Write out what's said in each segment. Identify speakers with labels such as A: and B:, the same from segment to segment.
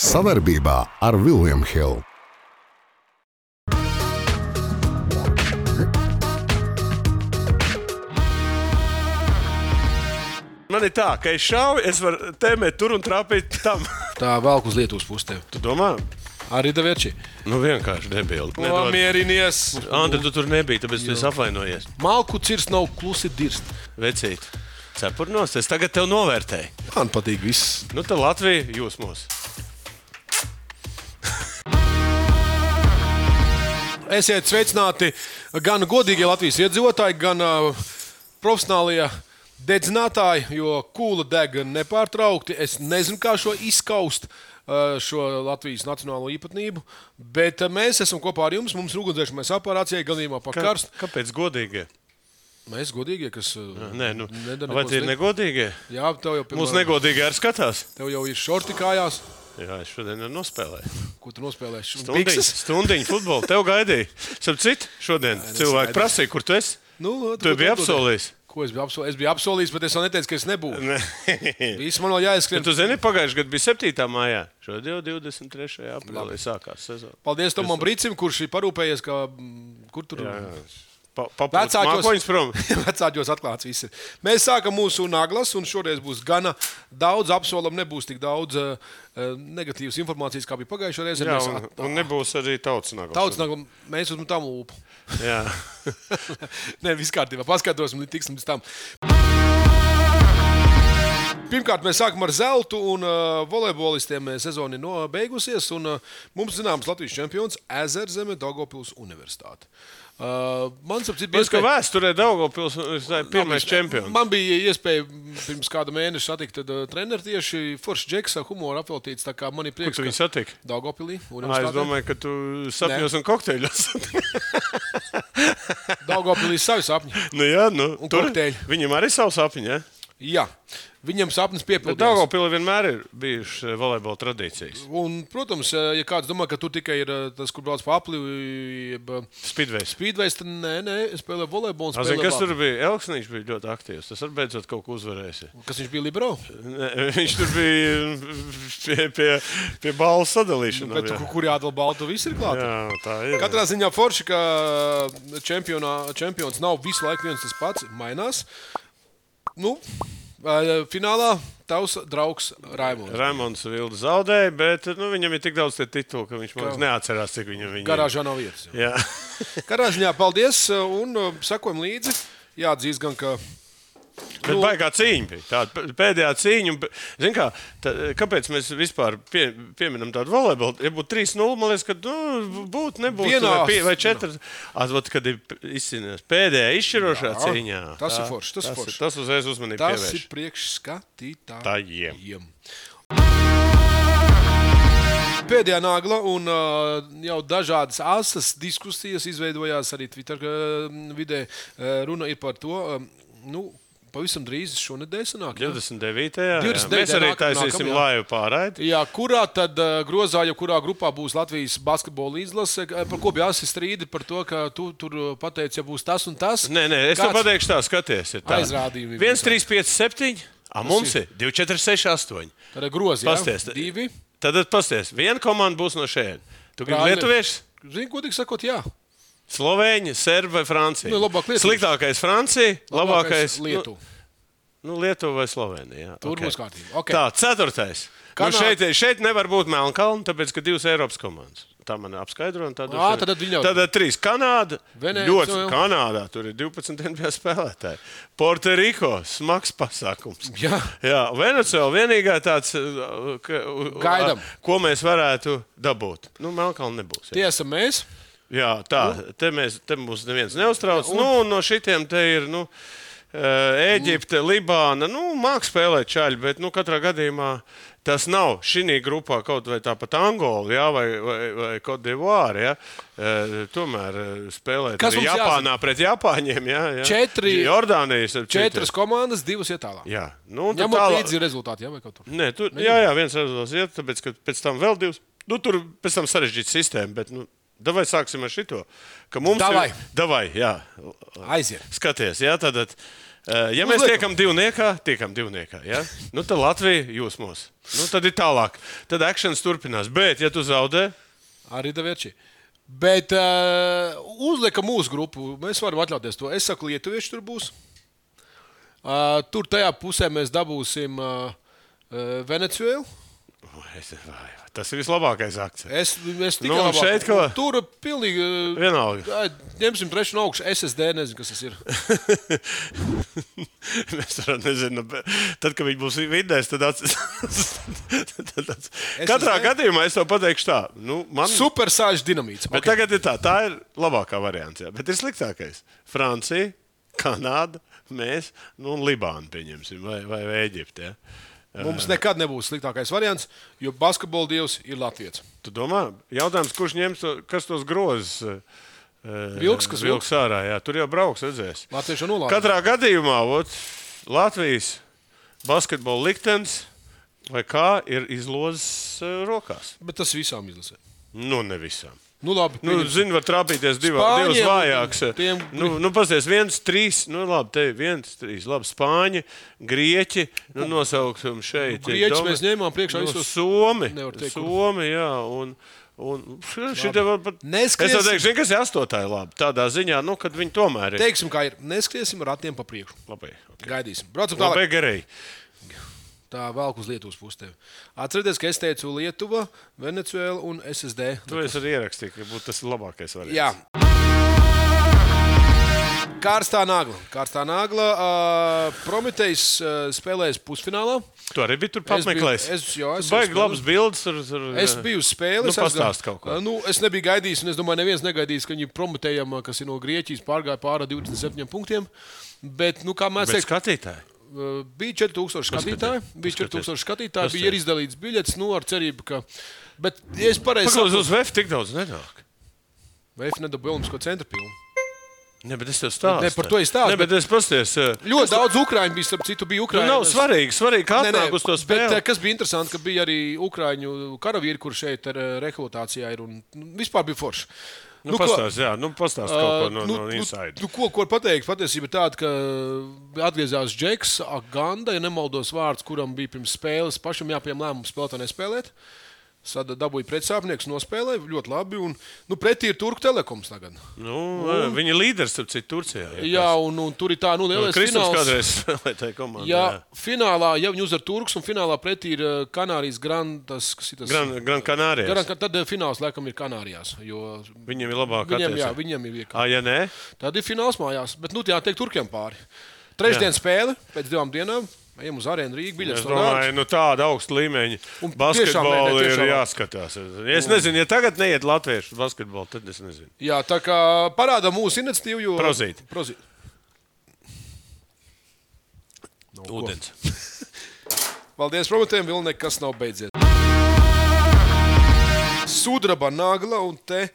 A: Savarbībā ar Vilniem Hilu.
B: Man ir tā, ka es šauju, es varu tēmēt tur un trāpīt tam.
C: Tā vēl uz Lietuvas pusi.
B: Tu domā?
C: Arī Davičs.
B: Nu, vienkārši debili. Nedod.
C: Pamierinies!
B: Anta, tu tur nebija, tāpēc tu esi apvainojies.
C: Malku cirs nav klusi dirst.
B: Vecīt, cepurnos, es tagad tev novērtēju.
C: Man patīk viss.
B: Nu, tad Latvija, jūs mūs.
C: Esiet sveicināti gan godīgie Latvijas iedzīvotāji, gan uh, profesionālie dedzinātāji, jo kūla deg nepārtraukti. Es nezinu, kā šo izskaust. uh, Šo Latvijas nacionālo īpatnību, bet uh, mēs esam kopā ar jums. Mums ir ugunsdzēsmais aparāts, gadījumā
B: Kā,
C: pakārs.
B: kāpēc godīgie?
C: Mēs godīgie, kas. uh,
B: Nē, nu,
C: Nedara
B: vai
C: neko
B: tie ir
C: sliktu.
B: negodīgie?
C: Jā, tev jau,
B: Mums
C: pirmā,
B: negodīgi arī skatās.
C: tev jau ir šorti kājās,
B: Jā, es šodien arī nospēlēju.
C: ko tu nospēlēsi.
B: Stundiņu, stundiņu futbolu tev gaidīju. Sapratu, šodien
C: es
B: cilvēki
C: gaidīju.
B: prasīja, kur tu esi.
C: Nu,
B: Tu
C: ko
B: biji
C: atbildēji?
B: apsolījis.
C: Ko es biju apsolījis? Es biju apsolījis, bet es vēl neteicu, ka es nebūšu.
B: Nē.
C: Viss man vēl jāizskrien.
B: Bet tu zini, pagājušajā gadā bija 7. maijā. Šodien jau 23. aprīlī sākās sezona.
C: Paldies Tomam Brīsim, kurš ir parūpējies, ka, mm, kur tur
B: Jā, jā. Pa- Papildus
C: Vecākos-
B: mākoņus prom.
C: Vecākos atklāts viss. ir. Mēs sākam mūsu naglas, un šoreiz būs gana daudz. Apsolam, nebūs tik daudz eh, eh, negatīvas informācijas, kā bija pagājušajā reizē.
B: Jā,
C: Mēs
B: un,
C: at-
B: un nebūs arī tautas nagla.
C: Tautas nagla, mēs uzmetām lūpu.
B: Jā,
C: Nē, viss kārtībā. Paskatos, un tiksim līdz tam. Pirmkārt, mēs sākam ar zeltu, un uh, volejbolistiem eh, sezona ir nobeigusies. Un, uh, mums zināms, Latvijas čempions - Ezerzeme, Dogopils Universitāte. Uh, man saprot, bija
B: tas, ka
C: iespēja-
B: vēsturē Daugopils ir pirmais čempions.
C: Man bija iespēja pirms kāda mēneša satikt uh, treneru tieši Foršs Džeksa humora apveltīts. tā kā Man ir prieks,
B: Tu viņu satiki?
C: Dogopilī.
B: Ā, Es domāju, ka tu sapņos un kokteļos.
C: Dogopilī ir savi sapņi.
B: nu, jā, nu,
C: Un
B: tur
C: kokteļi.
B: viņam arī savs sapņi. Ja?
C: Jā, viņam sapnis piepildījās.
B: Daugopilī vienmēr ir bijušas eh, volejbola tradīcijas.
C: Un, protams, ja kāds domā, ka tur tikai ir eh, tas, kur brauc pa apliņu, jeb eh,
B: Spidvejs.
C: speedways, tad nē, nē, es spēlēju volejbolu.
B: Zin,
C: Spēlē
B: kas tur bija? Elksniņš bija ļoti aktīvs. Tas arī beidzot kaut ko uzvarēs.
C: Kas viņš bija Libro?
B: Ne, viņš tur bija pie, pie, pie balvu sadalīšanas.
C: Nu, Bet, kur, kur jādala balta, viss ir klāts.
B: Nu, Jā, tā ir.
C: Katrā ziņā forši, ka eh, čempionā- čempions nav visu laiku viens tas pats, mainās. Nu, eh, finālā tavs draugs Raimons.
B: Raimons Vilda zaudēja, bet nu, viņam ir tik daudz tie titulu, ka viņš man liekas neatcerās, cik viņam viņa
C: Garāžā nav vietas.
B: ir. Jā.
C: Katrā ziņā paldies un eh, sekojam līdzi. Jāatzīst, gan ka
B: Bet
C: Nu.
B: baigā cīņa bija. Tāda p- pēdējā cīņa. un p- Zini, kā, tā, kāpēc mēs vispār pie, pieminam tādu volejbolu? Ja būtu 3-0, man liekas, ka nu, būtu, nebūtu
C: Vienā
B: vai pie- vai 4. Atvot, kad ir p- izcīnījās pēdējā izšķirošā
C: Jā,
B: cīņā.
C: tas ir
B: Tā-
C: forši, tas ir forši.
B: Tas uzreiz uzmanību
C: tas
B: pievērš.
C: ir priekšskatītājiem.
B: Tajiem.
C: Jiem. Pēdējā nagla un uh, jau dažādas asas diskusijas izveidojās arī Twitter uh, vidē. Uh, runa ir par to, um, nu, pavisam drīz šonadēļ sanāk. jā?
B: 29. Jā,
C: 29.
B: Mēs arī
C: nākam-
B: taisīsim
C: nākamajā.
B: laivu pārraidi.
C: Jā, kurā tad uh, grozā, ja kurā grupā būs Latvijas basketbola izlase, K- par ko bija asi strīdi, par to, ka tu tur uh, pateici, ja būs tas un tas.
B: Nē, nē, es tev
C: Kāds-
B: pateikšu, tā skaties. ir tā.
C: Aizrādījumi
B: 1, 3, 5, 7. A, mums ir 2, 4, 6, 8.
C: Tad ir grozi, jā?
B: Pasties.
C: divi.
B: Tad pasties. Viena komanda būs no šejienes. Tu gribi
C: Brāļi.
B: lietuviešus?
C: Zini, godīgi sakot, jā.
B: Slovēņi, Serbi vai Francija?
C: Nu, labāk lietuvieši.
B: Sliktākais Francija, labākais,
C: Lietuva.
B: Nu, nu, Lietuva vai Slovenija. jā,
C: Tur
B: okei.
C: būs kārtība, okei.
B: Tā, ceturtais. Kanā...
C: Kanā-
B: Nu šeit, šeit nevar būt Melnkalna, tāpēc, ka divas Eiropas komandas. Tā man apskaidro. un Tad,
C: Ā, tad viņi jau-
B: tad ir trīs. Kanāda.
C: Venecija.
B: Ļoti Kanādā. Tur ir 12 NBA spēlētāji. Porteriko. Smags pasākums.
C: Jā.
B: Jā Venecijā vienīgā tāds, uh, ka, uh,
C: Gaidam.
B: ko mēs varētu dabūt. Nu, Melnkalna nebūs. jā.
C: Tie esam mēs.
B: Jā,
C: Nu.
B: tā te, mēs, te mums neviens neuztrauc. Un, nu, un no šitiem te ir nu, eh, Ēģipte, Libāna. Nu, Mākslinieks spēlē čaļi, bet nu, katrā gadījumā tas nav šī grupā kaut vai tāpat Angola jā, vai, vai, vai Kodivāra. Tomēr eh, spēlēt
C: Kas
B: arī
C: mums
B: Japānā jāzina? pret Japāņiem. Jā, jā.
C: Četri-
B: Jordānijas ar
C: Četras komandas, divas iet tālāk.
B: Jā, nu, un tad
C: Ņemot
B: tālāk-
C: līdzi rezultātu, jā, vai kaut kur.
B: Nē, tur, jā, jā, viens rezultāts ir, tāpēc, ka pēc tam vēl divas. Nu, tur pēc tam sarežģīta sistēma, bet, nu, davai sāksim ar šito. Ka mums
C: Davai.
B: ir. Davai, jā.
C: Aiziet.
B: Skaties, jā, tātad Eh, Ja mēs tiekam divniekā, tiekam divniekā. Ja? Nu, tad Latvija jūs mūs. Nu, tad ir tālāk. Tad akcents turpinās. Bet, ja tu zaudē,
C: Arī Davičs. Bet uh, uzliekam mūsu grupu. Mēs varam atļauties to. Es saku, Lietuvieši tur būs. Uh, tur tajā pusē mēs dabūsim uh, uh, Venecijēlu.
B: O, es- vai, tas ir vislabākais akcents.
C: Es, es tikai
B: Nu, un
C: labāk-
B: šeit ko?
C: Tur pilnīgi. Uh,
B: Vienalga.
C: tā, Ņemsim trešo no augšas. SSD nezinu, kas tas ir.
B: Mēs varam nezināt, bet tad, kad viņi būs vidēs, tad atsakās.
C: Es
B: Katrā
C: uzreiz-
B: gadījumā es to pateikšu tā. Nu, man...
C: Supersāģis dinamīts.
B: Bet
C: Okay.
B: okay. tagad ir tā, tā ir labākā variants. Jā. Bet ir sliktākais. Francija, Kanāda, mēs nu, un Libāna pieņemsim, vai, vai, vai Eģipte. Ja.
C: Mums nekad nebūs sliktākais variants, jo basketbola dievs ir Latvijas.
B: Tu domā, jautājums, kurš ņems to, kas tos grozs?
C: Vilks, kas
B: vilks ārā, jā, tur jau brauks, redzēs.
C: Latviešu nulā.
B: Katrā gadījumā ot, Latvijas basketbola liktenis vai kā ir izlozes eh, rokās.
C: Bet tas visām izlasē.
B: Nu, ne visām.
C: Nu, labi.
B: Nu,
C: pieņemsim.
B: Zinu, var trāpīties divi,
C: Spāņiem,
B: divas vājākas.
C: tiem-
B: Nu, nu pasties, viens, trīs, nu, labi, te viens, trīs, labi, spāņi, grieķi, nu, nosauksim šeit.
C: Nu, grieķus mēs ņēmām priekšā
B: nu,
C: visos-
B: Somi,
C: Nevar teikt, kur.
B: Somi, jā, un, un šī te vēl pat.
C: Neskriesim.
B: Es jau teikšu, zini, kas ir astotāji labi, tādā ziņā, nu, kad viņi tomēr ir.
C: Teiksim, kā ir. Neskriesim ar ratiem pa priekšu.
B: Labi,
C: Gaidīsim. Braucam tālāk.
B: labi, garēji.
C: Tā vēl uz Lietuvas pusi. tevi. Atcerieties, ka es teicu Lietuva, Venecijā un SSD.
B: To es arī ierakstīju, ka būtu tas labākais variants.
C: Jā. Kārstā nagla. Kārstā nagla. Uh, Prometējs uh, spēlēs pusfinālā.
B: Tu arī biji tur
C: Es biju-
B: pameklējis.
C: es- jā, es-
B: Baigi
C: es-
B: labs bildes. Ar, ar,
C: Es biju uz spēles.
B: Nu, pastāst kaut ko.
C: Nu, es nebiju gaidījis, un es domāju, neviens negaidīs, ka viņi prometējam, kas ir no Grieķijas, pārgāja pāri 27 punktiem. Bet, nu, kā mēs
B: Bet
C: teiksim,
B: skatītāji.
C: Uh, bija 4000 skatītāji. Bija 4000 skatītāji,
B: Tas
C: bija
B: ir.
C: arī izdalīts biļets, nu, ar cerību, ka. Bet, ja es pareizi
B: Paklaus,
C: saprotu,
B: uz VF tik daudz nenāk.
C: vai F nedabūja Olimpisko centra pilnu?
B: Ne, bet es tev stāstu.
C: Ne, par to es stāstu,
B: Ne, bet es pasties.
C: Ļoti daudz ukrāņu bija, starp citu, bija
B: Nu,
C: ukrāņi.
B: nav svarīgi, svarīgi kā
C: Nē, nē,
B: nāk uz to
C: bet,
B: spēli.
C: eh, kas bija interesanti, ka bija arī ukrāņu karavīri, kur šeit ir eh, rekrutācijā ir un nu, vispār bija forši.
B: Nu,
C: ko-
B: pastāst, jā, nu, pastāst kaut ko no,
C: nu,
B: no
C: nu,
B: inside.
C: Nu, ko, ko var pateikt? Patiesība ir tāda, ka atgriezās Džeks, Ganda, ja nemaldos vārds, kuram bija pirms spēles pašam jāpieņem lēmums spēlēt vai nespēlēt. Sada dabūja pretsāpnieks, nospēlēja ļoti labi. Un, nu, pretī ir Turku telekoms tagad.
B: Nu, viņa līderis, ap citu, Turcijā.
C: Jā, un, un tur ir tā nu, lielais
B: Kristofers
C: fināls.
B: kādreiz spēlēja tajā komandā.
C: Jā,
B: Jā.
C: finālā, ja viņi uzvar Turks, un finālā pretī ir eh, Kanārijas Grandas, kas ir tas
B: Gran, Gran Kanārijas.
C: Gran, tad eh, fināls laikam ir Kanārijās. jo
B: Viņam ir labāk
C: Viņiem, jā,
B: attieksme.
C: viņiem ir vienkārši.
B: Ā, ja nē?
C: Tad ir fināls mājās. Bet, nu, tā teikt, turkiem pāri. Trešdienas spēle pēc divām dienām. Ejam uz arēnu Rīgā. Biļets
B: Es
C: no Rādas.
B: domāju, nu tāda augsta līmeņa
C: Un tiešām,
B: basketbolu
C: nē, nē,
B: ir
C: tiešām.
B: jāskatās. Es nezinu, ja tagad neiet latviešu basketbolu, tad es nezinu.
C: Jā, tā kā parāda mūsu iniciatīvu. Jo...
B: Prozīt.
C: Prozīt.
B: Ūdens.
C: Nu, Paldies, protams, vēl nekas nav beidzies. Sudraba nagla un te.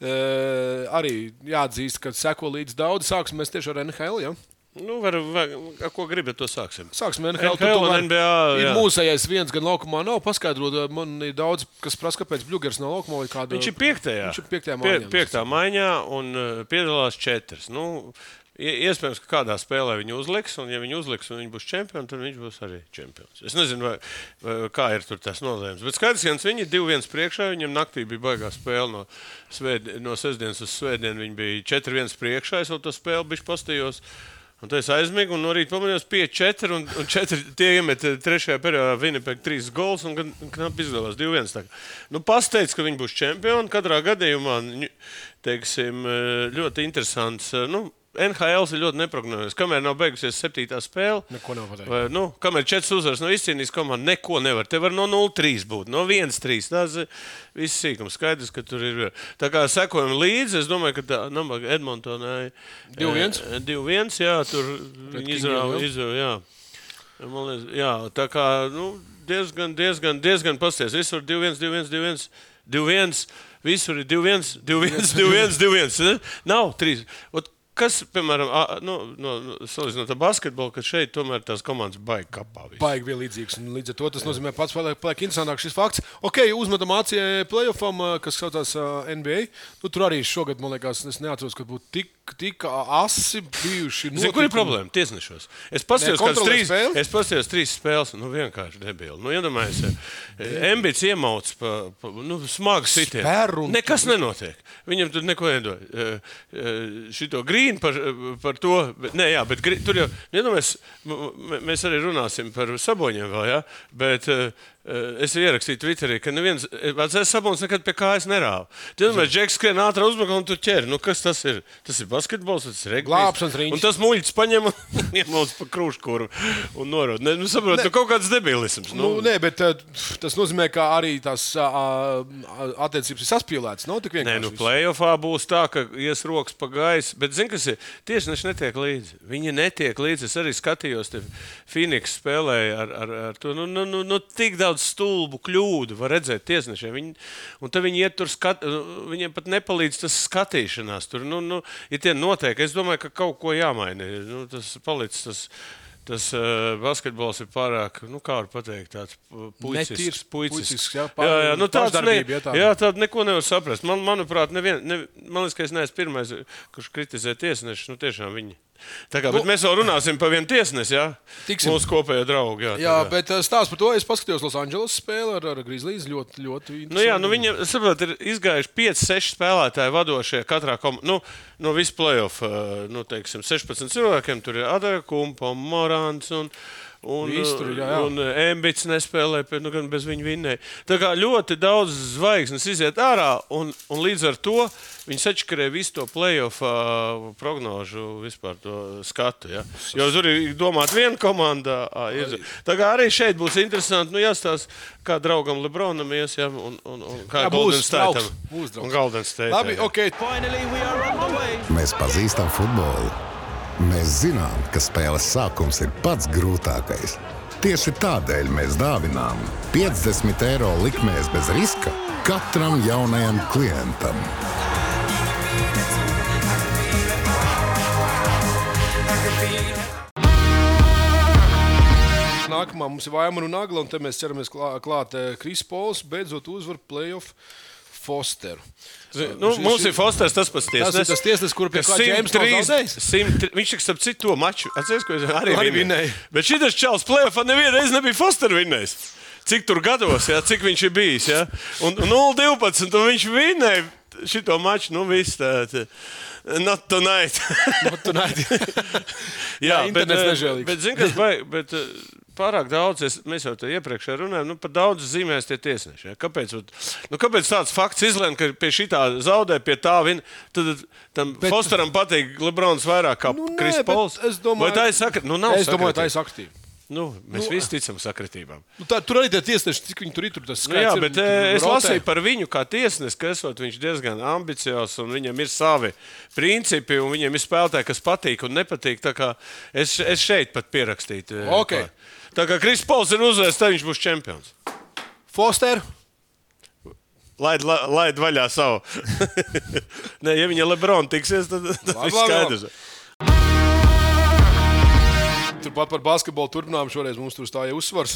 C: Uh, arī jāatzīst, ka seko līdz daudz. Sāksim mēs tieši ar NHL. Ja?
B: Nu, var, var, ar ko gribat, to sāksim.
C: Sāksim ar NHL.
B: NHL un NBA,
C: ir
B: jā.
C: mūsējais viens, gan laukumā nav paskaidrots. Man ir daudz, kas prasa, kāpēc Bluegers nav laukumā vai kādā.
B: Viņš ir piektajā.
C: Viņš ir piektajā
B: Pie,
C: mājā.
B: piektā maiņā un uh, piedalās četras. Nu, i- iespējams, ka kādā spēlē viņu uzliks, un ja viņu uzliks un viņš būs čempions, tad viņš būs arī čempions. Es nezinu, vai, vai, kā ir tur tas nolēmums. Bet skaidrs, ka viņi ir 2-1 priekšā. Viņam naktī bija baigā spēle no, svētd... no sestdienas uz svētdienu. Viņi bija 4-1 priekšā, es vēl to spēli biju pastījos. Un tas aizmigs, un no rīta pamanīju, 5-4. Un, un 4 tie iemet eh, trešajā periodā Vinipēka 3 gols, un gan- knapi izdevās 2-1. tā kā. Nu, Pasteidz, ka viņi būs čempioni. Katrā gadījumā ņu- teiksim, eh, ļoti interesants. eh, Nu, NHL ir ļoti neprognozējams. Kamēr nav beigusies septītā spēle,
C: Neko nav pateikt.
B: vai, nu, kamēr četras uzvaras nav izcīnījis, komanda neko nevar. Te var no 0-3 būt, no 1-3. Tas ir viss sīkums. Skaidrs, ka tur ir. eh, Tā kā sekojam līdzi, es domāju, ka tā Namaga Edmontonai
C: 2:1?
B: 2-1, jā, tur viņi
C: Kingiem,
B: izrāva.
C: jā?
B: izrāva jā. Man liekas, jā, tā kā nu, diezgan, diezgan, diezgan pasties. Visur 2-1, 2-1, 2-1, 2-1. Visur ir 2-1, 2-1, 2-1, 2-1. ne? Nav 3. Ot, kas, piemēram, a, nu, no, no, salīdzinot ar basketbolu, ka šeit tomēr tās komandas baigi kapā. visu.
C: baigi vienlīdzīgs. un Līdz ar to tas nozīmē, ka pats paliek, paliek interesantāks šis fakts. Ok, uzmetam eh, acī playoffam, kas saucās ā, NBA. Nu, tur arī šogad, man liekas, es neatceros, ka būtu tik tik asi bijuši.
B: Zini, kur ir
C: notikumi.
B: problēma? Tiesnešos. Es paskatījos,
C: Nē,
B: kādas
C: kontrolē
B: trīs,
C: spēli?
B: es paskatījos trīs spēles. Nu, vienkārši debili. Nu, iedomājieties, Embīts iemauts pa, pa nu, smagu sitienu.
C: Spēru un-
B: Nekas nenotiek. Viņam tur neko nedod. Eh, eh, Šito grīnu par, par to. bet- Nē, jā, bet grī, tur jau, nu, iedomājieties, m- m- mēs arī runāsim par saboņiem vēl, jā. Bet, eh, eh, Es ierakstīju Twitterī, ka neviens eh, vecais sabonis nekad pie kājas nerāva. Tad mēs džekas skrien ātrāk uzbrukam un tur ķer. Nu, kas tas ir? Tas ir basketbols, tas ir regbijs.
C: Glābšanas riņķis.
B: Un tas muļķis paņem un iemūž pa krūškuru un norod. Ne, nu, saprot, nu, kaut kāds debilisms.
C: Nu, nē, bet eh, tas nozīmē, ka arī tās ah, ah, attiecības ir saspīlētas. Nav tik
B: Nē,
C: vienkārši.
B: nu,
C: viss.
B: plēsoņā būs tā, ka ies rokas pa gaisu. Bet, zini, kas ir? Tiesneši netiek līdzi. Viņi netiek līdzi. Es arī skatījos, te Phoenix spēlēja ar, ar, ar to. Nu, nu, nu, nu, tik daudz stulbu kļūdu var redzēt tiesnešiem. Viņi, un tad viņi iet tur, skat, nu, viņiem pat nepalīdz tas skatīšanās. Tur, nu, nu, ja tie notiek, es domāju, ka kaut ko jāmaina. ir. Nu, tas palicis. Tas, Tas uh, basketbols ir pārāk, nu, kā var pateikt, tāds pu- puicisks.
C: Netīrs, puicisks, jā,
B: jā, jā, nu, tāds ne,
C: pašdarbība, ja tāda.
B: jā, tādu neko nevar saprast. Man, manuprāt, nevien, ne, man liekas, ka es neesmu pirmais, kurš kritizē tiesnešu. Nu, tiešām viņi. Tā kā, bet mēs vēl runāsim par vienu tiesnesi, jā?
C: Nu- Tiksim.
B: Mūsu kopējo draugu. Jā,
C: Jā,
B: tā kā.
C: bet eh, stāsts par to. Es paskatījos Los Angeles spēli ar, ar Grizzlies. Ļoti, ļoti
B: Nu, jā, nu viņam saprot, ir izgājuši 5, 6 spēlētāji vadošie katrā komandā. Nu, no vispār playoff, eh, nu, teiksim, 16 cilvēkiem tur ir Adara Kumpa, Morāns un, un,
C: Visi tur ir, jā, jā.
B: un Embits nespēlēja, bet nu, gan bez viņa vinnēja. Tā kā ļoti daudz zvaigznes iziet ārā, un, un līdz ar to viņi sačakarēja visu to playoff eh, prognožu, vispār to skatu. Ja? Jo tur ir domāts viena komanda. ā, ir- Tā kā arī šeit būs interesanti, nu, jāstāsta, kā draugam Lebronam ies, ja? un, un, un kā
C: Jā,
B: Golden
C: būs
B: Stateam.
C: draugs, būs draugs.
B: Un Golden State.
C: Labi, ok.
D: Finally, we are on the way.
A: Mēs pazīstam futbolu. Mēs zinām, ka spēles sākums ir pats grūtākais. Tieši tādēļ mēs dāvinām 50 eiro likmēs bez riska katram jaunajam klientam.
C: Nākamā mums ir Vaimana un Nagla, un te mēs ceramies klā, klāt eh, Kris Pols, beidzot uzvaru playoff Fosteru. Eh,
B: Zin, Nu, mums ir Fosters, tas pats tiesnesis.
C: ir Uh, tas tiesnesis, kuru pie
B: kas
C: kā Džeims nav
B: 103
C: zaudējis.
B: 103 Viņš ir ap citu to maču. Atceries, ko es arī,
C: Arī
B: arī
C: vinēja.
B: vinēju. Bet šis čels plēsoņā nevienreiz nebija Fosters vinnējis. Cik tur gados, ja, cik viņš ir bijis. Ja? Un 0-12 un viņš vinēja. Šito maču, nu, viss tāds - not tonight. Jā,
C: Jā, internets
B: eh,
C: nežēlīgs.
B: Bet, zini, kas baig, bet eh, pārāk daudz, es, mēs jau te iepriekš runājām, nu, par daudz zīmēs tie tiesneši. Ja? Kāpēc, vat- nu, kāpēc tāds fakts izlēma, ka pie šī tā zaudē, pie tā vina? Tad eh, tam bet, Fosteram patīk Lebrons vairāk kā
C: Nu, nē,
B: nu, Kris
C: bet
B: Pols.
C: es domāju-
B: Vai tā ir sakritība. Nu, nav
C: Es domāju,
B: sakritība.
C: tā ir aktīva.
B: Nu, mēs nu, visi ticam sakritībām.
C: Nu, tā, tur arī tie tiesneši, cik viņi tur ir, tur tas
B: Nu,
C: skaits.
B: jā,
C: ir,
B: bet
C: tur
B: eh, es
C: rotē.
B: lasīju par viņu kā tiesnesi, ka esot, viņš diezgan ambiciozs un viņam ir savi principi, un viņam ir spēlētāji, kas patīk un nepatīk. Tā kā Es, es šeit pat pierakstīju. eh,
C: Ok.
B: klāt. Tā kā Krispauls ir uzvarējis, tad viņš būs čempions.
C: Fosteru.
B: Laid, la- laid vaļā savu. Nē, ja viņa Lebrona tiksies, tad tas
C: Labi,
B: ir
C: labi, labi.
B: skaidrs.
C: Turpat par basketbolu turpinām. Šoreiz mums tur stāja uzsvars.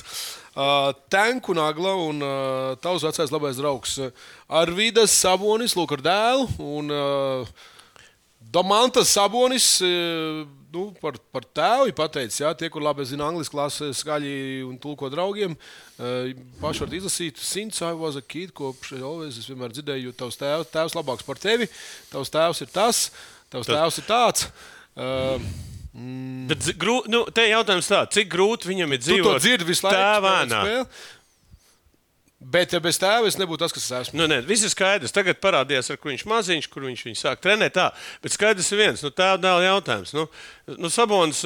C: Uh, Tanku nagla un uh, tavs vecais labais draugs uh, Arvidas Sabonis, Lūk, ar dēlu. Un uh, Domantas Sabonis. Uh, Nu, par, par tēvu ir pateicis, jā, tie, kur labi zina angļu klasi, skaļi un tulko draugiem. Uh, paši var izlasīt, since I was a kid, kopš always, es vienmēr dzirdēju, jo tavs tēvs, tēvs labāks par tevi, tavs tēvs ir tas, tavs tēvs ir tāds. Uh,
B: Bet zi- grū, nu, te jautājums tā, cik grūti viņam ir
C: Tu to
B: dzīvot
C: dzirdi visu laiku. spēlēt
B: tēvēnā?
C: spēli. Bet ja bez tēva es nebūtu tas, kas es esmu.
B: Nu, nē, viss ir skaidrs. Tagad parādījās, ar ko viņš maziņš, kur viņš viņu sāk trenēt. Tā. Bet skaidrs ir viens, nu, tā nav jautājums. Nu, nu, Sabons,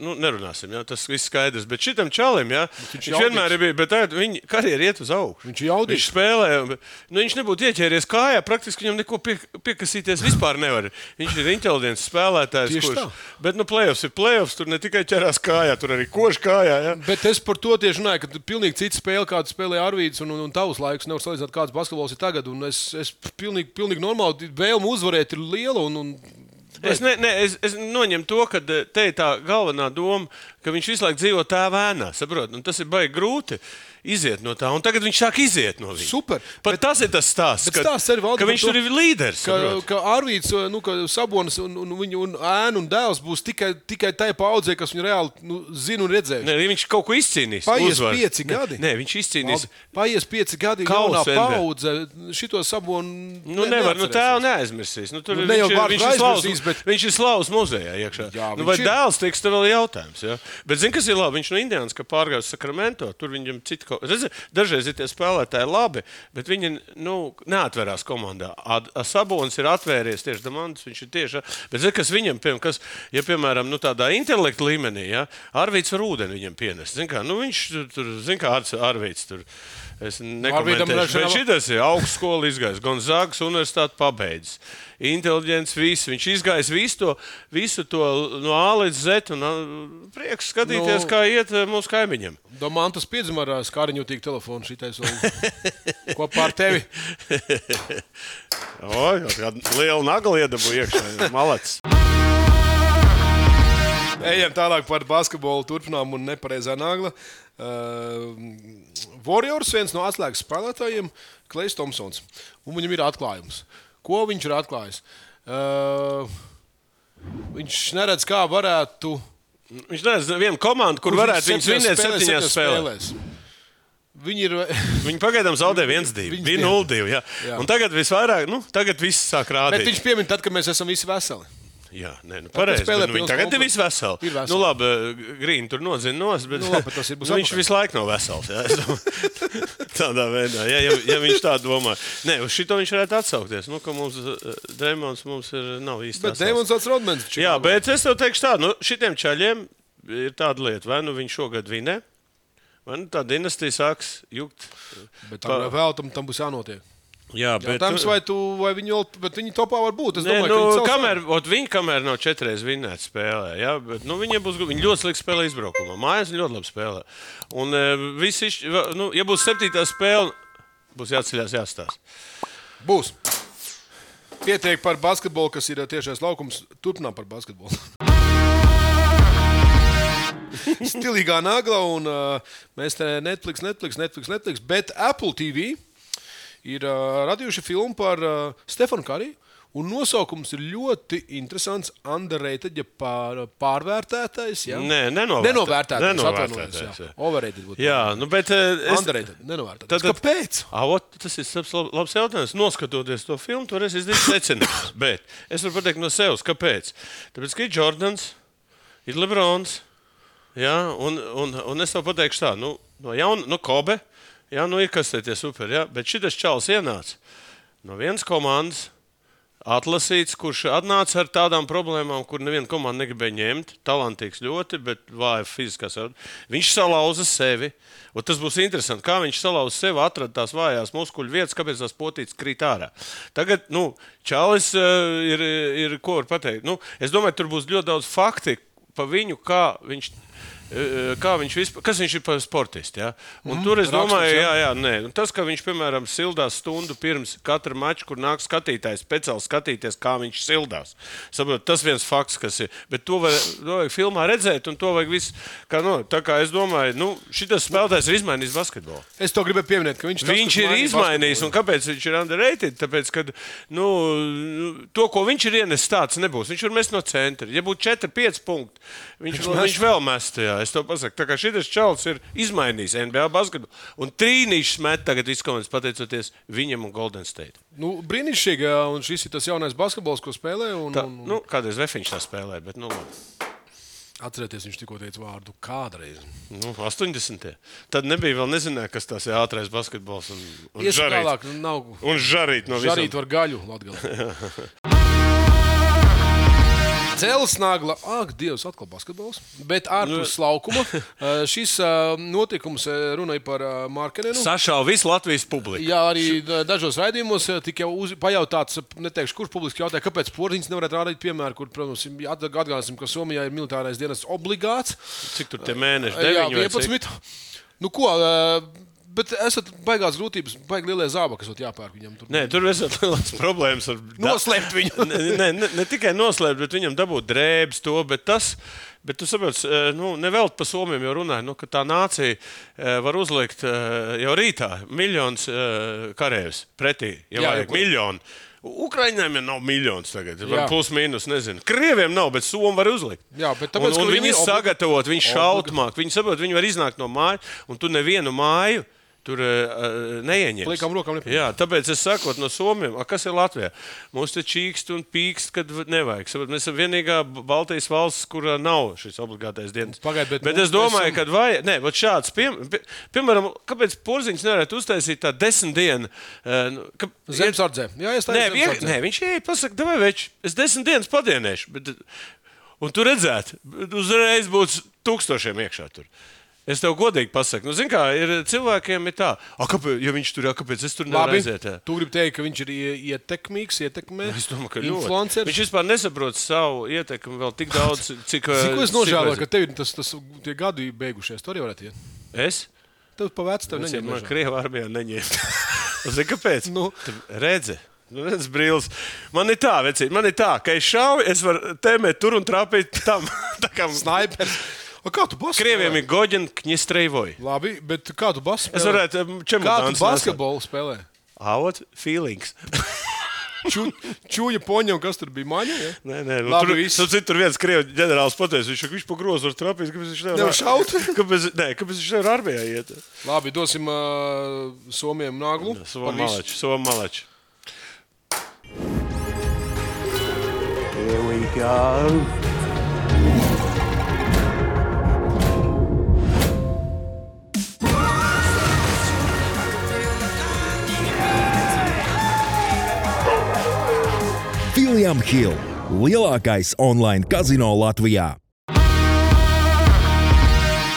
B: nu, nerunāsim, jā, tas viss skaidrs. Bet šitam čalim, jā, viņš, viņš
C: jaudīgs.
B: vienmēr ir bijis, bet tagad viņa karjera iet uz augšu.
C: Viņš ir jaudīgs.
B: Viņš spēlē, un, nu, viņš nebūtu ieķēries kājā, praktiski viņam neko pie, piekasīties vispār nevar. Viņš ir inteliģents spēlētājs.
C: Tieši tā.
B: bet, nu, plēsoņs ir plēsoņs, tur ne tikai ķerās kājā, tur arī koš kājā. Jā.
C: Bet es par to tieši runāju, ka tu pilnīgi cits spēle, kādu spēlēja Arvīds un, un, un tavs laiks. Nevar salīdzināt, kāds basketbols ir tagad. Un es es pilnīgi, pilnīgi normāli vēlmu uzvarēt ir liela. Un, un...
B: Es, ne, ne, es, es noņemu to, ka eh, te ir tā galvenā doma, ka viņš visu laiku dzīvo tā vēnā. Saprot, Un tas ir baigi grūti. iziet no tā. Un tagad viņš sāk iziet no viņa.
C: Super,
B: Pat bet, tas ir tas stāsts,
C: bet stāsts arī, Valdi,
B: ka
C: par
B: viņš
C: to,
B: tur ir līderis.
C: Ka,
B: saproti?
C: ka Arvīts, nu, ka Sabonis un, un viņa un ēna un dēls būs tikai, tikai tajā paudzē, kas viņu reāli nu, zina un redzēs.
B: Nē, viņš kaut ko izcīnīs.
C: Paies
B: uzvaru.
C: pieci
B: Nē,
C: gadi.
B: Nē, viņš izcīnīs.
C: Valdi, Paies pieci gadi, kā
B: Kausu
C: jaunā
B: NBA.
C: paudze šito sabonu.
B: Nu,
C: ne-
B: nevar, nu, tā jau neaizmirsīs.
C: neatcerēsies.
B: Nu, tur
C: Nu,
B: nu,
C: ne jau
B: viņš, ir-
C: vārdu
B: viņš, ir slaus,
C: aizmirsīs, bet-
B: viņš ir slavs muzejā iekšā.
C: Jā,
B: nu,
C: viņš
B: vai
C: ir.
B: dēls tiks, tas vēl ir jautājums. Jā. Bet, zini, kas ir labi? Viņš no Indijas pārgāja uz Sakramento. Tur viņam citi kaut kas. Dažreiz ir tie spēlētāji labi, bet viņi nu, neatverās komandā. Ad- a- Sabonis ir atvēries tieši Damants. Viņš ir tieši. a- Bet, zini, kas viņam, piem, kas, ja piemēram, nu, tādā intelektu līmenī, ja, Arvīts var ūdeni viņam pienest. Zini, kā, nu, viņš tur- tur, zini, kā Arts- Arvīts tur. Es
C: Nu, Arvītam
B: nekomentēšu,
C: droši
B: bet
C: vien-
B: šī Tas ir augstskola izgājis, Gonzagas universitāte pabeidzis. Inteliģents, viss. Viņš izgājis visu to, visu to no A līdz Z. Un, ā, prieks skatīties,
C: Nu.
B: no... kā iet ā, mūsu kaimiņam.
C: Domantas piedzima ar skāriņotīgu telefonu šitais vēl kopā ar tevi.
B: O, jau tāda liela nagla iedabūja iekšā. Malacis.
C: Ejam tālāk par basketbolu, turpinām un nepareizā nagla. Uh, Warriors viens no atslēgas spēlētājiem, Klais Thompsons. Un viņam ir atklājums. Ko viņš ir atklājis? Uh, viņš neredz, kā varētu.
B: Viņš nezina vienu komandu, kur varētu viņu svinēt septiņās spēlēs.
C: Viņi ir.
B: Viņi pagaidām zaudēja 1-2.
C: Viņš
B: Bija 0-2. jā.
C: Jā.
B: Un tagad visvairāk, nu, tagad viss sāk
C: Bet
B: rādīt.
C: viņš piemin, tad, kad mēs esam visi veseli.
B: Jā, nē, nu, pareizi.
C: spēlē
B: bet Nu, viņi
C: pilns
B: tagad ir
C: komplekts.
B: visi veseli.
C: Ir veseli.
B: Nu, labi, Grīna tur nodzina nos, bet,
C: Nu, labi, bet tas ir būs
B: nu, viņš
C: atpakaļ.
B: visu laiku nav vesels. Jā, es domāju. Tādā veidā, ja, ja, ja viņš tā domā. Nē, uz šito viņš varētu atsaukties. Nu, ka mums eh, Dreimons mums ir nav īsti.
C: Bet
B: vesels.
C: Dēmons Rodmans.
B: Jā, bet es tev teikšu tā, nu, šitiem čaļiem ir tāda lieta, vai nu viņš šogad vinē, vai nu tā dinastija sāks jukt.
C: bet tam, vēl tam, tam būs jānotiek.
B: Jā,
C: Jautājums, vai, tu, vai viņi, vēl- bet viņi topā var būt? Es
B: uh, Nē,
C: domāju,
B: nu,
C: ka viņi savs-
B: kamēr, ot, viņi kamēr nav četreiz vinnēti spēlē, ja, bet, nu, viņi, būs, gu- viņi ļoti slikti spēlē izbraukumā. Mājās viņi ļoti labi spēlē. Un, e, visi, izš- va- nu, ja būs septītā spēle, būs jāceļās, jāstāsta.
C: Būs. Pietiek par basketbolu, kas ir uh, tiešais laukums. Turpinām par basketbolu. Stilīgā nagla, un uh, mēs te Netflix, Netflix, Netflix, Netflix, bet Apple TV ir uh, radījuši filmu par uh, Stefanu Kariju. Un nosaukums ir ļoti interesants. Underrated, ja pār, pārvērtētais. Ja?
B: Nē, nenovērtē-
C: nenovērtētais.
B: nenovērtētais,
C: Nenovērtētais. Jā.
B: jā.
C: Overrated būtu.
B: Jā, nu, bet, e, es,
C: Underrated, nenovērtētais.
B: Tad-
C: Tad,
B: tad-
C: Kāpēc?
B: Ā, ot, tas ir labs, lab- labs jautājums. Noskatoties to filmu, tur es izdarīju secinājumus. Bet es varu pateikt no sevis, kāpēc. Tāpēc, ka ir Jordans, ir Lebrons. Jā, un, un, un es tev pateikšu, tā, nu, no jauna, no Kobe. Jā, nu ir kas te tie super. Jā, bet šis čels ienāca no vienas komandas. Atlasīts, kurš atnāca ar tādām problēmām, kur neviena komanda negribēja ņemt. Talantīgs ļoti, bet vāja fiziskā savu. Viņš salauza sevi. Un tas būs interesanti, kā viņš salauza sevi, atrada tās vājās muskuļu vietas, kāpēc tās potītas krīt ārā. Tagad, nu, Čālijs uh, ir, ir, ko var pateikt. Nu, es domāju, tur būs ļoti daudz faktu par viņu, kā viņš. eh, Kā viņš vispār, kas viņš ir par sportistu? Ja? Mm, tur es
C: raksturs,
B: domāju,
C: jā.
B: jā, jā, nē. Un tas, ka viņš, piemēram, sildās stundu pirms katra mača, kur nāk skatītājs speciāli skatīties, kā viņš sildās. Saprot, tas viens fakts, kas ir. Bet to vajag, to vajag filmā redzēt, un to vajag visu. Kā, no, tā kā es domāju, nu, šis spēlētājs ir izmainījis basketbolu.
C: Es to gribēju pieminēt, ka viņš, tas,
B: Viņš
C: kas
B: ir
C: mainīja
B: izmainījis,
C: basketbolu.
B: un kāpēc viņš ir underrated? Tāpēc, ka nu, to, ko viņš ir ienesis, tāds nebūs. Viņš var mest no centra. Ja būtu 4, 5 punkti, viņš,
C: Viņš
B: viņš,
C: mest.
B: viņš vēl mestu. Jā, es to pasaku. Tā kā šis čels ir izmainījis NBA basketbolu, un trīnīšs met tagad izkomandas pateicoties viņam un Golden State.
C: Nu, brīnišķīgi, un šis ir tas jaunais basketbols, ko spēlē. Un,
B: Tā,
C: un, un,
B: nu, kādreiz Vēfiņš tā spēlēja, bet nu, labi.
C: atcerieties, viņš tikko teica vārdu kādreiz.
B: nu, 80. Tad nebija vēl nezināja, kas tas ir ātrākais basketbols un, un
C: Iesim
B: žarīt.
C: tālāk, nu, nav
B: Un žarīt no visām.
C: žarīt var gaļu latgalē. Celsnagla, ak, Dievs, atkal basketbols. Bet
B: Nu,
C: ārpus laukuma eh, šis eh, notikums eh, runāja par Markenenu.
B: Sašāva visu Latvijas publiku.
C: Jā, arī da- dažos raidījumos eh, tika jau uz- pajautāts, eh, neteikšu, kurš publiski jautāja, kāpēc porziņš nevarētu rādīt piemēru, kur, protams, ir jāatg- atgādāsim, ka Somijā ir militārais dienas obligāts.
B: Cik tur tie mēneši?
C: Jā,
B: 9 vai cik?
C: 11. Nu, ko, eh, Bet esat baigās grūtības, baigi lielie zābaki, kas jāpērk viņam. Tur.
B: Nē, tur esat liels problēmas ar da-
C: Noslēpt viņu.
B: ne, ne, ne, ne tikai noslēpt, bet viņam dabūt drēbes, to. Bet tas, bet tu saproti, eh, nu, nevelti par somiem jau runāju, nu, ka tā nācija eh, var uzlikt eh, jau rītā miljonus karēvis pretī. Ja
C: Jā,
B: Jā, vajag
C: jau-
B: miljonu. Ukraiņiem jau nav miljonus tagad.
C: Jā.
B: Plus, mīnus, nezinu. Krieviem nav, bet somu var uzlikt.
C: Jā, bet tāpēc,
B: un, un
C: ka viņiem
B: viņi
C: ir obli-
B: sagatavot, viņi šautmāk, viņi saprot, viņi var iznākt no mājas, un tu nevienu māju tur uh, neieņem.
C: Plikām rokām nepieņem.
B: Jā, tāpēc es saku, no Somijas, a, kas ir Latvijā? Mums te čīkst un pīkst, kad v- nevajag. Saprot, Mēs esam vienīgā B- Baltijas valsts, kurā nav šis obligātais dienas.
C: Pagaid, Nu, bet
B: bet
C: mums-
B: es domāju,
C: mēs esam-
B: ka vajag. Nē, vat šāds, piem, pie, piemēram, kāpēc porziņš nevarētu uztaisīt tādu desmit dienu? eh, nu, ka-
C: Zemesardzē. Jā, es tādu
B: Nē, vienkārši. Nē, viņš ej, pasakā, tev vajag, es desmit dienas padienēšu. Bet, un tu redzētu, uzreiz būs tūkstošiem iekšā. Tur. Es tev godīgi pasaku, nu, zini, kā ir cilvēkiem ir tā, ah, kāpēc, ja viņš tur ir, kāpēc es tur nevaru
C: Labi,
B: aiziet? jā?
C: tu gribi teikt, ka viņš ir ie- ietekmīgs, ietekmē.
B: Es domāju, ka ļoti.
C: influenceris.
B: Viņš vispār nesaprot savu ietekmi vēl tik daudz, cik. eh,
C: Cik es
B: cik
C: nožēloju,
B: vajadz-
C: ka tev ir tas, tas tie gadi beigušies. Tur jau varētu iet.
B: Es?
C: Tev pa vecu tev
B: Es
C: Nu, neņem.
B: domāju,
C: mežā.
B: ka Krievijā armijā neņēma. Zini, kāpēc?
C: Nu.
B: Tu Redzi. Nu, redz, brīlis. Man ir tā, vecīt, man ir tā, ka es šauju, es varu tēmēt tur un trāpīt tam. Tā kā
C: Snaipers. O, kā tu basi?
B: Krieviem ir goģi, viņi streivoja.
C: Labi, bet kā tu basi?
B: Es varētu um,
C: Kā
B: čemodāns
C: tu
B: nesāt.
C: basketbolu spēlē?
B: Avot feelings.
C: Ču- Čūja poņa un kas tur bija maņa? Ja?
B: Nē, nē, nu,
C: Labi,
B: tur,
C: viss.
B: tur, tur viens krievis ģenerālis pateica, viņš, viņš pa grozu var trāpīt, kāpēc viņš nevar
C: Nevar šaut?
B: Kāpēc, nē, kāpēc viņš nevar armijā iet?
C: Labi, dosim uh, somiem naglu.
B: Somu
C: Par visu.
B: malači, somu malači.
D: Here we go.
E: Filiam Hill - lielākais online kazino Latvijā.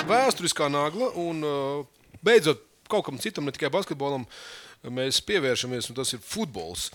C: Vēsturiskā nagla un uh, beidzot kaut kam citam, ne tikai basketbolam, mēs pievēršamies, un tas ir futbols.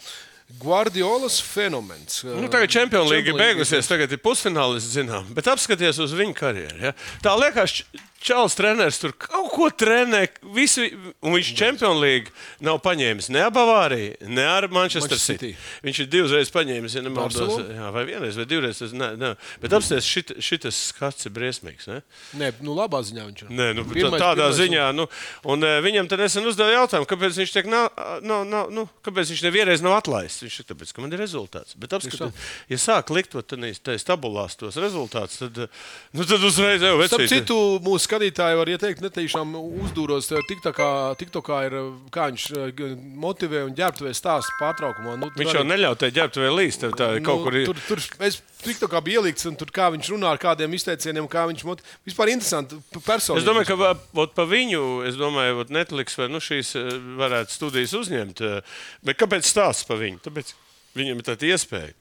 C: Guardiolas fenomens.
B: Nu, tagad Champions League ir beigusies, tagad ir pusfinālists, zinām. Bet apskaties uz viņa karjeru. Ja? Tā liekas, Č- Čāles treneris tur kaut ko trenē, visu, un viņš Champions League nav paņēmis ne ar Bavāriju, ne ar Manchester
C: Manchester
B: City. Viņš ir divreiz paņēmis, ja nemaldos.
C: Barcelonu?
B: Jā, vai vienreiz, vai divreiz. Tas, ne, ne. Bet apskaties, šit, šitas skats ir briesmīgs. Ne?
C: Nē, nu, labā ziņā viņš ir.
B: Nē, nu, pirmais, tādā pirmais, ziņā, nu, un eh, viņam te nesen uzdeva jautājumu, kāpēc viņš tiek, nav, nav, nav, nu, kāpēc viņš nevienreiz nav atlaists. Viņš ir tāpēc, ka man ir rezultāts. Bet, apskatīt, ja sāk likt to tenīs, tais tabulās tos rezultātus, tad, eh, nu, tad uzreiz jau
C: Starp
B: vecīt.
C: citu, mūsu skatītāji var ieteikt, netiešām uzdūros. Tikā ir kā viņš eh, motivē un ģērbtuvē stāsta pārtraukumā. Nu, tur
B: Viņš
C: arī- nu,
B: jau neļauj te ģērbt vēl līst, tev tā ir kaut kur.
C: Tur, tur es tikko kā biju ielikts, un tur kā viņš runā ar kādiem izteicieniem, kā viņš mot... vispār interesanti personīgi.
B: Es domāju, ka va- vot pa viņu, es domāju, vot Netflix vai nu, šīs eh, varētu studijas uzņemt. eh, Bet kāpēc stāsts par viņu? Tāpēc viņam ir tāda iespēja.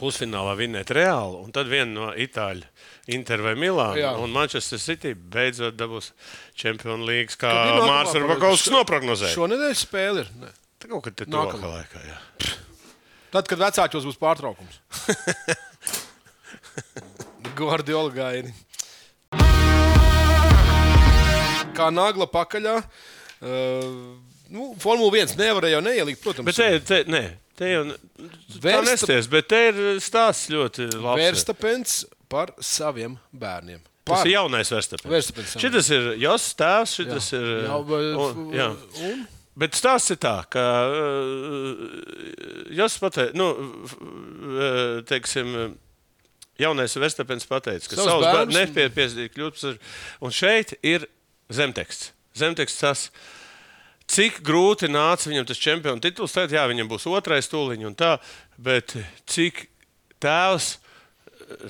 B: Pusfinālā vinnēt reāli, un tad viena no Itāļu, Inter vai
C: Jā.
B: Milāna un Manchester City beidzot dabūs Champions League, kā
C: Kad ir nākamā
B: Mārcis
C: parāda?
B: Kalniņš noprognozēja. Šo...
C: šonadēļ spēle ir. Ne.
B: Tā kaut kad te
C: Nākamā.
B: nākamā laikā. Jā.
C: Tad, kad vecākos būs pārtraukums. Gordiola gaini. Kā nagla pakaļā. Uh, nu, Formula 1 nevarēja jau neielikt, protams.
B: Bet te, te, nē, te jau ne- tā
C: Versta-
B: nesties, bet te ir stāsts ļoti labs.
C: Verstapens par saviem bērniem.
B: Tas
C: Par.
B: ir jaunais verstapēns.
C: Verstapens, jā.
B: Šis ir Jos tēvs, šis ir.
C: Jau, bet-
B: un, jā.
C: un?
B: Bet stāsts ir tā, ka uh, Jos pateica, nu, f- uh, teiksim. uh, Jaunais verstapēns pateica, ka
C: Savus
B: savus bērnus
C: bērnus-
B: nepiespiedīja kļūt par. Un šeit ir zemteksts. Zemteksts tas, cik grūti nāca viņam tas čempionu tituls. Tad, jā, viņam būs otrais stūliņš un tā, bet cik tēvs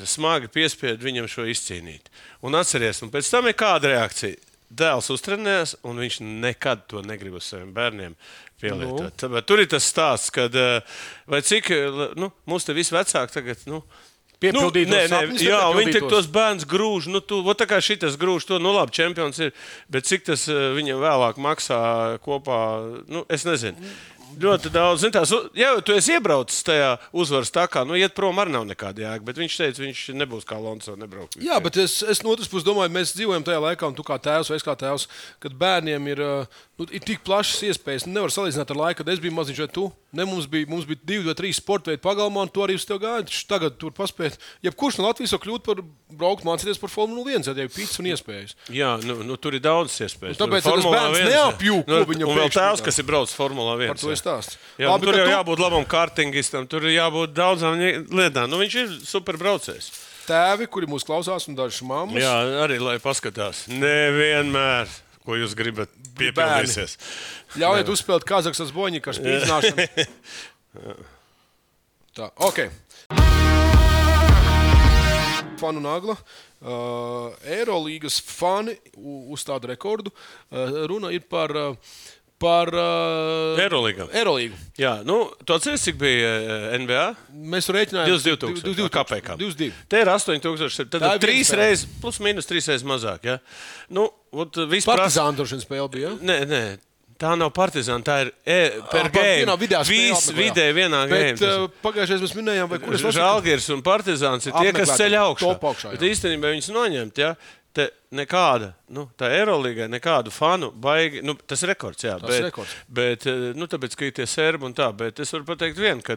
B: smagi piespiedu viņam šo izcīnīt. Un atcerieties, un pēc tam ir kāda reakcija. Dēls uztrenējās, un viņš nekad to negrib uz saviem bērniem pielietot. Nu. Tur ir tas stāsts, kad eh, vai cik eh, l- nu, mums te viss vecāki tagad. Nu,
C: Piepildīt
B: nu, nē,
C: tos
B: nē,
C: sapņus,
B: jā,
C: nepilnīt
B: viņi tik
C: tos.
B: tos bērns grūž, nu, tu, vo tā kā šis grūž, to nu, labi, čempions ir. Bet cik tas eh, viņam vēlāk maksā kopā, nu, es nezinu. Ļoti daudz, zināms, ja tu esi iebraucis tajā uzvaras takā, nu, iet prom arī nav nekāda jēga. Bet viņš teica, viņš nebūs kā Lonso nebrauks.
C: Jā, bet es, es no otras puses domāju, mēs dzīvojam tajā laikā, un tu kā tēvs vai es kā tēvs, kad bērniem ir, ā, nu, ir tik plašas iespējas. Nu, Nevar salīdzināt ar laiku, kad es biju maziņš, vai tu. Ne, mums, bija, mums bija divi vai trīs sporta veidi pagalmā, un tu arī uz to gāji. Taču tagad tur paspēt. Jebkurš no Latvijas var kļūt par braukt, mācīties par Formuli 1, ja ir pits un iespējas.
B: Jā, nu, nu, tur ir daudz iespēju.
C: Nu, tāpēc tas bērns neapjūk, ko
B: ir.
C: viņam
B: Nu, Vēl
C: pēkšņi
B: tēls,
C: tā.
B: kas ir braucis Formulā 1.
C: Par to ir stāsts.
B: Jā, Labi,
C: Labi,
B: tur
C: ka
B: jau
C: tu-
B: jābūt labam kārtingistam, tur ir jābūt daudzām nie- lietām. Nu, viņš ir superbraucējs.
C: Tēvi, kuri mūs klausās, un dažas mammas.
B: Jā, arī lai paskatās. Nevienmēr, ko jūs gribat piepildīties.
C: Ļaujiet uzspēlēt Kazahstānas boņu, kas spīdzināšana. Tā, ok. Fanu nagla. Uh, Eirolandes fani u- uzstāda rekordu. Uh, runa ir par, uh, par uh,
B: Eirolīgam.
C: Eirolīgu.
B: Jā, nu, tu atceries, cik bija eh, NBA?
C: Mēs rēķinājām
B: 22,000.
C: 22
B: Kāpēc?
C: 22.
B: Te ir 8,000. Tad ir
C: Tā ir viena
B: trīs
C: spēle.
B: reizes, plus mīnus trīs reizes mazāk. Ja? Nu, ot, vispār-
C: Partizāna droši vien spēle bija. ja?
B: Nē, nē. Tā nav partizāna, tā ir e, per
C: Ah, par-
B: game.
C: vienā video spēlē
B: Visi
C: apmeklējām.
B: vidē vienā
C: Bet,
B: game.
C: uh, Pagājušajā gadā mēs minējām, vai kurš
B: Žēlgājs un Partizāns ir tie, kas
C: Apmeklētāji,
B: ceļ augšā.
C: top augšā, jā.
B: Bet īstenībā viņus noņemt. Ja? Te nekāda, nu, tā Eirolandā nekādu fanu baigi. Nu, tas ir rekords, jā.
C: Tas
B: bet,
C: ir rekords.
B: Bet, eh, nu, tāpēc, ka ir tie serbi un tā, bet es varu pateikt vienu, ka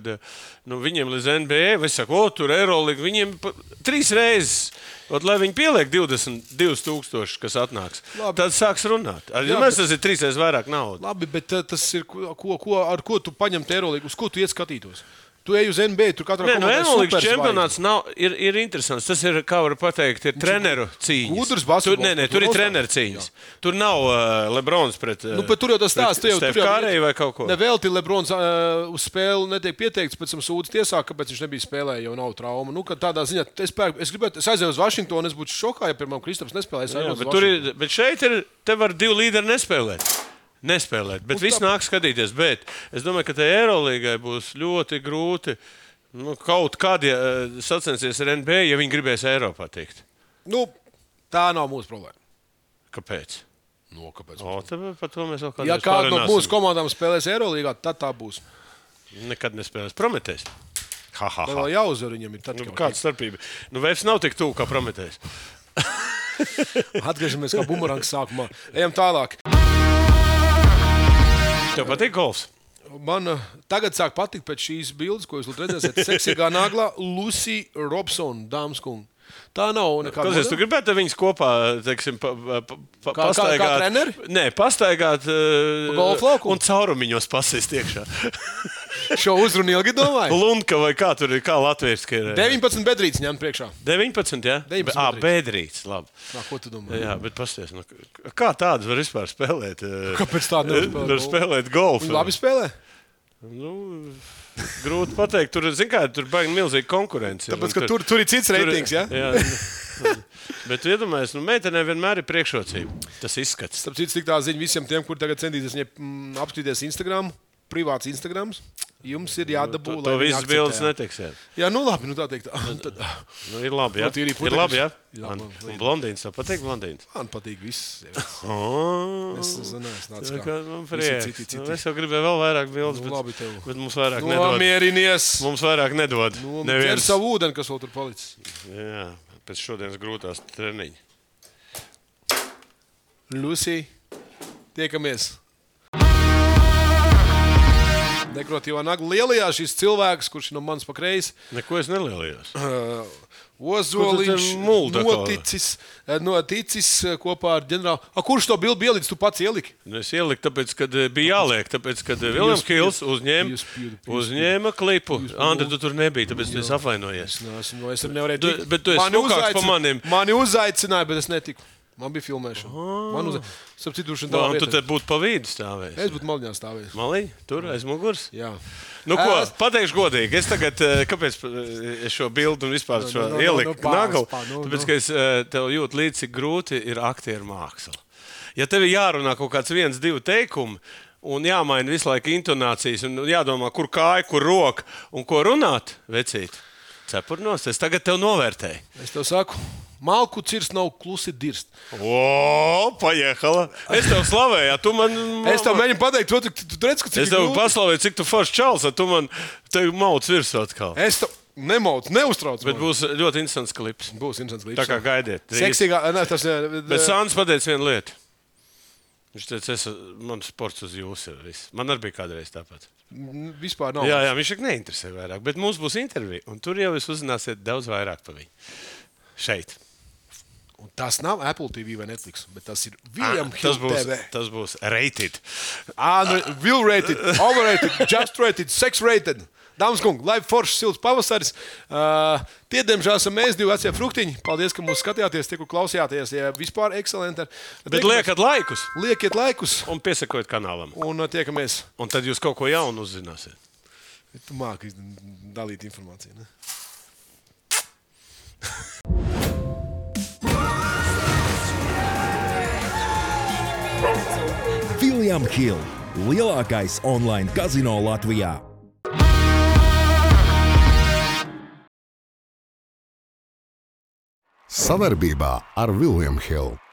B: nu, viņiem līdz NBA, vai saku, o, tur Eirolandā viņiem pa- trīs reizes. Ot, lai viņi pieliek 22,000, kas atnāks,
C: Labi.
B: tad sāks runāt. Ar,
C: Jā,
B: jā, mēs, tas ir trīs reizes vairāk naudas.
C: Labi, bet ā, tas ir ko, ko- ko, ar ko tu paņemtu Eirolandu, uz ko tu iet skatītos? Tu ej uz NBA, tur katrā
B: Nē, nu,
C: komandā ir
B: Eirolandes
C: superzvaigzne.
B: čempionāts nav, ir, ir interesants. Tas ir, kā var teikt, ir treneru cīņa.
C: gudrs
B: Tur,
C: basketbols,
B: nē, nē,
C: tu
B: tur ir
C: nostāj.
B: treneru cīņa. Tur nav uh, Lebrons pret. Uh,
C: Nu, bet tur jau tas stāsts, tu jau tur jau
B: Kārēji vai kaut ko.
C: Nevelti Lebrons uh, uz spēli netiek pieteikts, pēc tam sūdz tiesā, kāpēc viņš nebija spēlējis, jau nav trauma. Nu, ka tādā ziņā es, pēr, es gribētu, es aizēju uz Vašingtonu, es būtu šokā, ja pirmā Kristaps nespēlēs.
B: Jā, bet, tur ir, bet šeit ir, te var divi līderi nespēlēt. Nespēlēt, bet
C: Un
B: viss
C: Nu, tā-
B: nāk skatīties. Bet es domāju, ka tai Eirolandai būs ļoti grūti. Nu, kaut kādā uh, sacensties ar NBA, ja viņi gribēs Eiropā tikt.
C: Nu, tā nav mūsu problēma.
B: Kāpēc?
C: No, kāpēc?
B: O, tāpēc par to mēs vēl
C: Ja
B: kādreiz
C: kāda no
B: parunāsim.
C: mūsu komandām spēlēs Eirolandā, tad tā būs.
B: Nekad nespēlēs Prometēs. Ha, ha,
C: Tā
B: ha.
C: vēl jāuzvar viņam. ir Tad,
B: Nu,
C: kad-
B: kāda starpība? Nu, Vēsts nav tik tuvu kā Prometējs.
C: Atgriežamies kā bumerangs sākumā. Ejam tālāk.
B: Tev patīk golfs?
C: Man uh, tagad sāk patikt pēc šīs bildes, ko jūs lūdzu redzēsiet. Seksīgā naglā Lucy Robsona, dāmas kunga. Tā nav nekāda.
B: Kāpēc tu
C: modele.
B: gribētu ar viņus kopā, teiksim, pa, pa, pa,
C: kā
B: pastaigāt?
C: treneri?
B: Nē, pastaigāt uh,
C: Pa golfa laukumu?
B: un caurumiņos pasist iekšā.
C: Šo uzrunu ilgi domāju.
B: Lunka vai kā tur ir, kā latviešu ir?
C: 19 bedrītes ņemt priekšā.
B: 19, jā?
C: 19
B: Ā, bēdrīts, labi.
C: Nā, ko tu domā?
B: Jā, bet pasties, nu, k- kā tādas var vispār spēlēt? eh,
C: Kāpēc tādi nevar spēlēt
B: var
C: golfu?
B: spēlēt golfu?
C: Viņi labi spēlē.
B: Nu, grūti pateikt, tur, zin kā, tur baigi milzīga konkurence. ir, un
C: Tāpēc, ka tur, tur ir cits reitings. Ja?
B: jā nu, bet iedomājieties, nu, meitenē vienmēr ir priekšrocība. Tas izskats.
C: Starp citu, tik tā ziņa visiem tiem, kur tagad centīsies viņai, mm, apskatīties Instagram, privāts Instagram. Jums ir jādabū.
B: Nu, To,
C: lai
B: to
C: viņi
B: viss
C: akceptē.
B: bildes netiks. Jā.
C: Jā, nu labi, nu tā teikt. Tad,
B: Nu, ir labi, ja
C: Nu, tīri
B: ir labi. Jā.
C: putekļi. Jā,
B: Un,
C: man
B: un blondīns, tev patīk blondīns.
C: man patīk viss.
B: Oh.
C: Es nezinu, es nācu
B: Tā
C: kā-
B: kā man
C: visi
B: prieks.
C: citi, citi.
B: Nu, Es jau gribēju vēl vairāk bildes,
C: Nu,
B: bet,
C: labi tev. Nu,
B: bet mums vairāk nedod.
C: Nomierinies!
B: Mums vairāk nedod.
C: Nevienu
B: Neviens.
C: Nu, savu ūdeni, kas vēl tur palicis.
B: Jā, pēc šodienas grūtās treniņa.
C: Lucy, tiekamies! Nekrotīvā nagla lielajā šis cilvēks, kurš ir no manas pakreizes,
B: Neko es nelielījos.
C: uh,
B: Kur tu
C: Ozoliņš,
B: te mulda kaut?
C: noticis, eh, noticis eh, kopā ar ģenerāli. A, kurš to bildi ielicis? Tu pats ieliki?
B: Nu, Es ieliku, tāpēc, ka bija jāliek, tāpēc, ka Viljams Hills uzņēma,
C: jūs pjūdu, jūs
B: uzņēma klipu. Andri, tu tur nebija, tāpēc tu esi apvainojies.
C: Nē, es, no, es tur nevarēju
B: Tu-
C: tikt.
B: bet tu esi
C: Mani
B: smukāks pa
C: uzaicina-
B: maniem.
C: Mani uzaicināja, bet es netiku. Man bija filmēšana.
B: Tā,
C: Man
B: Nu, un tu te
C: uzaicināja.
B: būtu pa vidu stāvējis.
C: Es būtu malņā stāvējis.
B: Maliņ, tur aiz muguras.
C: Jā.
B: Nu, ko,
C: Es-
B: pateikšu godīgi, es tagad, eh, kāpēc eh, es šo bildi un vispār
C: Nu,
B: šo
C: nu, nu,
B: ieliku
C: nu, nu,
B: nagu?
C: pārspār, nu,
B: Tāpēc,
C: nu.
B: ka es eh, tev jūtu līdzi, cik grūti ir aktieru māksla. Ja tev ir jārunā kaut kāds viens, divi teikumi, un jāmaina visu laiku intonācijas, un jādomā, kur kāja, kur roka, un ko runāt, vecīt, cepurnos, es tagad tev novērtēju.
C: Es tev saku, Malku cirs nav klusi dirst.
B: O, paiehala. Es tev slavēju, ja tu man.
C: Es tev mēģinu pateikt, to, tu, tu redz, ka cik
B: Es tev
C: grūti-
B: paslavēju, cik tu forši čels, ja tu man te mauc virsū atkal.
C: Es tev nemaucu, neuztrauc.
B: Bet
C: mani.
B: būs ļoti interesants klips.
C: būs interesants
B: Tā kā
C: līdzeklis.
B: gaidiet.
C: Seksīgā, nē, tas
B: Bet
C: ir.
B: Sāns pateica vienu lietu. Viņš teica, es, man sports uz jums ir. Viss. Man arī bija kādreiz tāpat.
C: Vispār nav.
B: Jā, jā, viņš ir neinteresē vairāk, bet mums būs intervija. Un tur jau jūs uzzināsiet daudz vairāk par viņu. Šeit.
C: Un tas nav Apple TV vai Netflix, bet tas ir
B: Ah,
C: William
B: Tas
C: Hill
B: būs,
C: TV.
B: tas būs rated.
C: Ah, nu, will rated, overrated, just rated, sex rated. Dāmas un kungi, lai foršs silts pavasaris. Uh, tie, diemžēl, esam mēs divi vecie fruktiņi. Paldies, ka mūs skatījāties, tikko klausījāties. Ja vispār ekscelenti.
B: Bet liekat laikus
C: liekiet laikus
B: un piesakojiet kanālam.
C: un ā, tiekamies.
B: Un tad jūs kaut ko jaunu uzzināsiet.
C: Tu māki dalīt informāciju. Ne?
E: William Hill - lielākais online kazino Latvijā.
A: Savarbībā ar Vilnius Hilu.